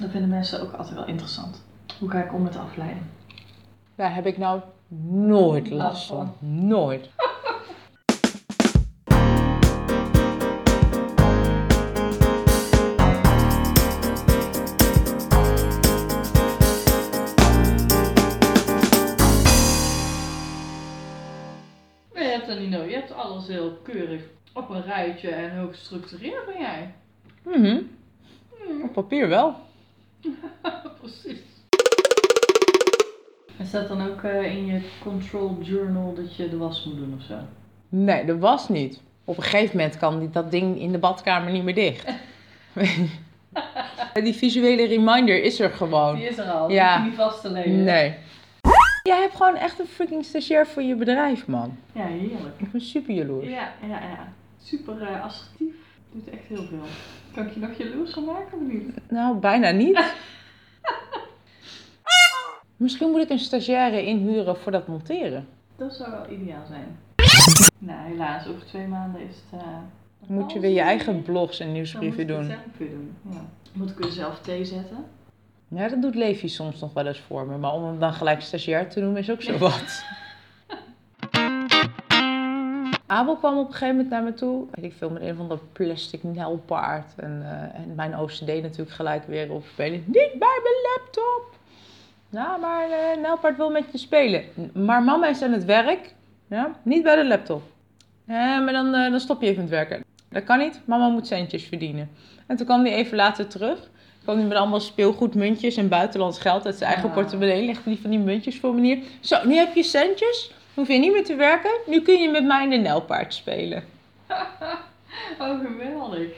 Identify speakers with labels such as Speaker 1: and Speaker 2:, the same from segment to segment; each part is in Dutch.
Speaker 1: Dat vinden mensen ook altijd wel interessant. Hoe ga ik om met afleiding?
Speaker 2: Daar heb ik nou nooit last van. Nooit.
Speaker 3: Maar je hebt dat niet nodig. Je hebt alles heel keurig op een rijtje en heel gestructureerd ben jij.
Speaker 2: Mhm. Op papier wel.
Speaker 3: Precies. En staat dan ook eh, in je control journal dat je de was moet doen of zo?
Speaker 2: Nee, dat was niet. Op een gegeven moment kan die, dat ding in de badkamer niet meer dicht. die visuele reminder is er gewoon.
Speaker 3: Die is er al.
Speaker 2: Oh. Ja.
Speaker 3: Die hoef je niet vast te leggen.
Speaker 2: Nee. Jij hebt gewoon echt een freaking stagiair voor je bedrijf, man.
Speaker 3: Ja, heerlijk.
Speaker 2: Ik ben super jaloers.
Speaker 3: Ja, ja, ja. Super eh, assertief. Doet echt heel veel. Kan ik je nog jaloers gaan maken of niet?
Speaker 2: Nou, bijna niet. Misschien moet ik een stagiaire inhuren voor dat monteren.
Speaker 3: Dat zou wel ideaal zijn. Nou, helaas. Over twee maanden is het... eh,
Speaker 2: Moet
Speaker 1: Oh,
Speaker 2: je weer je eigen blogs en nieuwsbrieven
Speaker 3: Dan moet
Speaker 2: doen.
Speaker 3: ik het zelf weer doen. Ja. Moet ik weer zelf thee zetten?
Speaker 2: Ja, dat doet Levi soms nog wel eens voor me. Maar om hem dan gelijk stagiair te noemen is ook zo wat. Abel kwam op een gegeven moment naar me toe. Weet ik veel, met een van dat plastic nijlpaard. En, eh, en mijn OCD natuurlijk gelijk weer op. Ben je niet bij mijn laptop? Nou, maar eh nijlpaard wil met je spelen. "N- Maar mama is aan het werk. Ja, niet bij de laptop. "Eh, maar dan, eh, dan stop je even met werken. Dat kan niet, mama moet centjes verdienen. En toen kwam hij even later terug kwam hij met allemaal speelgoedmuntjes en buitenlands geld uit zijn eigen
Speaker 3: Ah.
Speaker 2: portemonnee. Legde die van die muntjes voor me neer. Zo, nu heb je centjes. Hoef je niet meer te werken. Nu kun je met mij in de nijlpaard spelen.
Speaker 3: Oh, geweldig.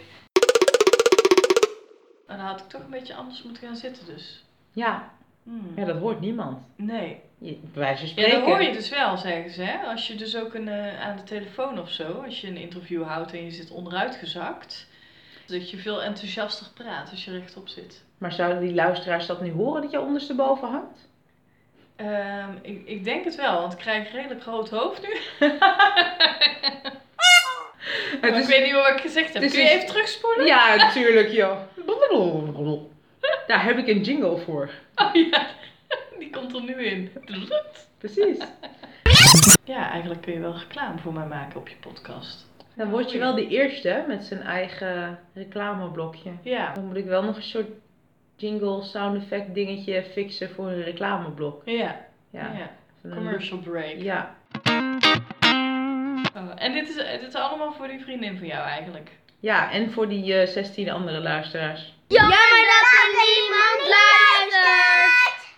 Speaker 1: En dan had ik toch een beetje anders moeten gaan zitten dus.
Speaker 2: Ja,
Speaker 3: Hmm.
Speaker 2: dat hoort niemand.
Speaker 1: Nee.
Speaker 2: Bij wijze van
Speaker 1: Ja, dat hoor je dus wel, zeggen ze. Hè? Als je dus ook een, eh, aan de telefoon of zo, als je een interview houdt en je zit onderuitgezakt, dat je veel enthousiaster praat als je rechtop zit.
Speaker 2: Maar zouden die luisteraars dat nu horen dat je ondersteboven hangt?
Speaker 1: Ehm, ik, ik denk het wel, want ik krijg een redelijk groot hoofd nu. Maar Ik weet niet meer wat ik gezegd heb.
Speaker 2: dus
Speaker 1: Kun je
Speaker 2: is-
Speaker 1: even terugspoelen?
Speaker 2: Ja, natuurlijk joh. Daar heb ik een jingle voor.
Speaker 1: Oh ja, die komt er nu in.
Speaker 2: Precies.
Speaker 1: Ja, eigenlijk kun je wel reclame voor mij maken op je podcast.
Speaker 2: Dan word je wel de eerste hè, met zijn eigen reclameblokje.
Speaker 1: Ja.
Speaker 2: Dan moet ik wel nog een soort jingle, sound effect dingetje fixen voor een reclameblok.
Speaker 1: Ja,
Speaker 2: Ja.
Speaker 1: ja.
Speaker 2: Van een
Speaker 1: commercial break.
Speaker 2: look- Ja.
Speaker 1: Oh, en dit is, dit is allemaal voor die vriendin van jou eigenlijk.
Speaker 2: ja, en voor die eh, 16 andere luisteraars.
Speaker 4: Jammer dat er niemand luistert.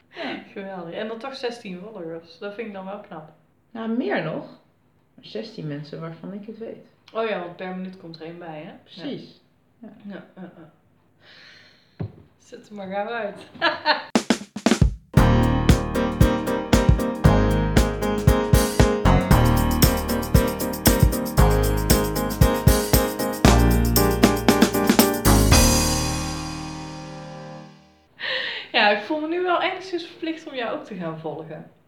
Speaker 1: Geweldig. En dan toch 16 followers. Dat vind ik dan wel knap.
Speaker 2: Nou, meer nog. Maar 16 mensen waarvan ik het weet.
Speaker 1: Oh ja, want per minuut komt er één bij, hè?
Speaker 2: Precies.
Speaker 1: Ja. Ja, ja, ja. Zet hem maar gauw uit. Ja, ik voel me nu wel enigszins verplicht om jou ook te gaan volgen.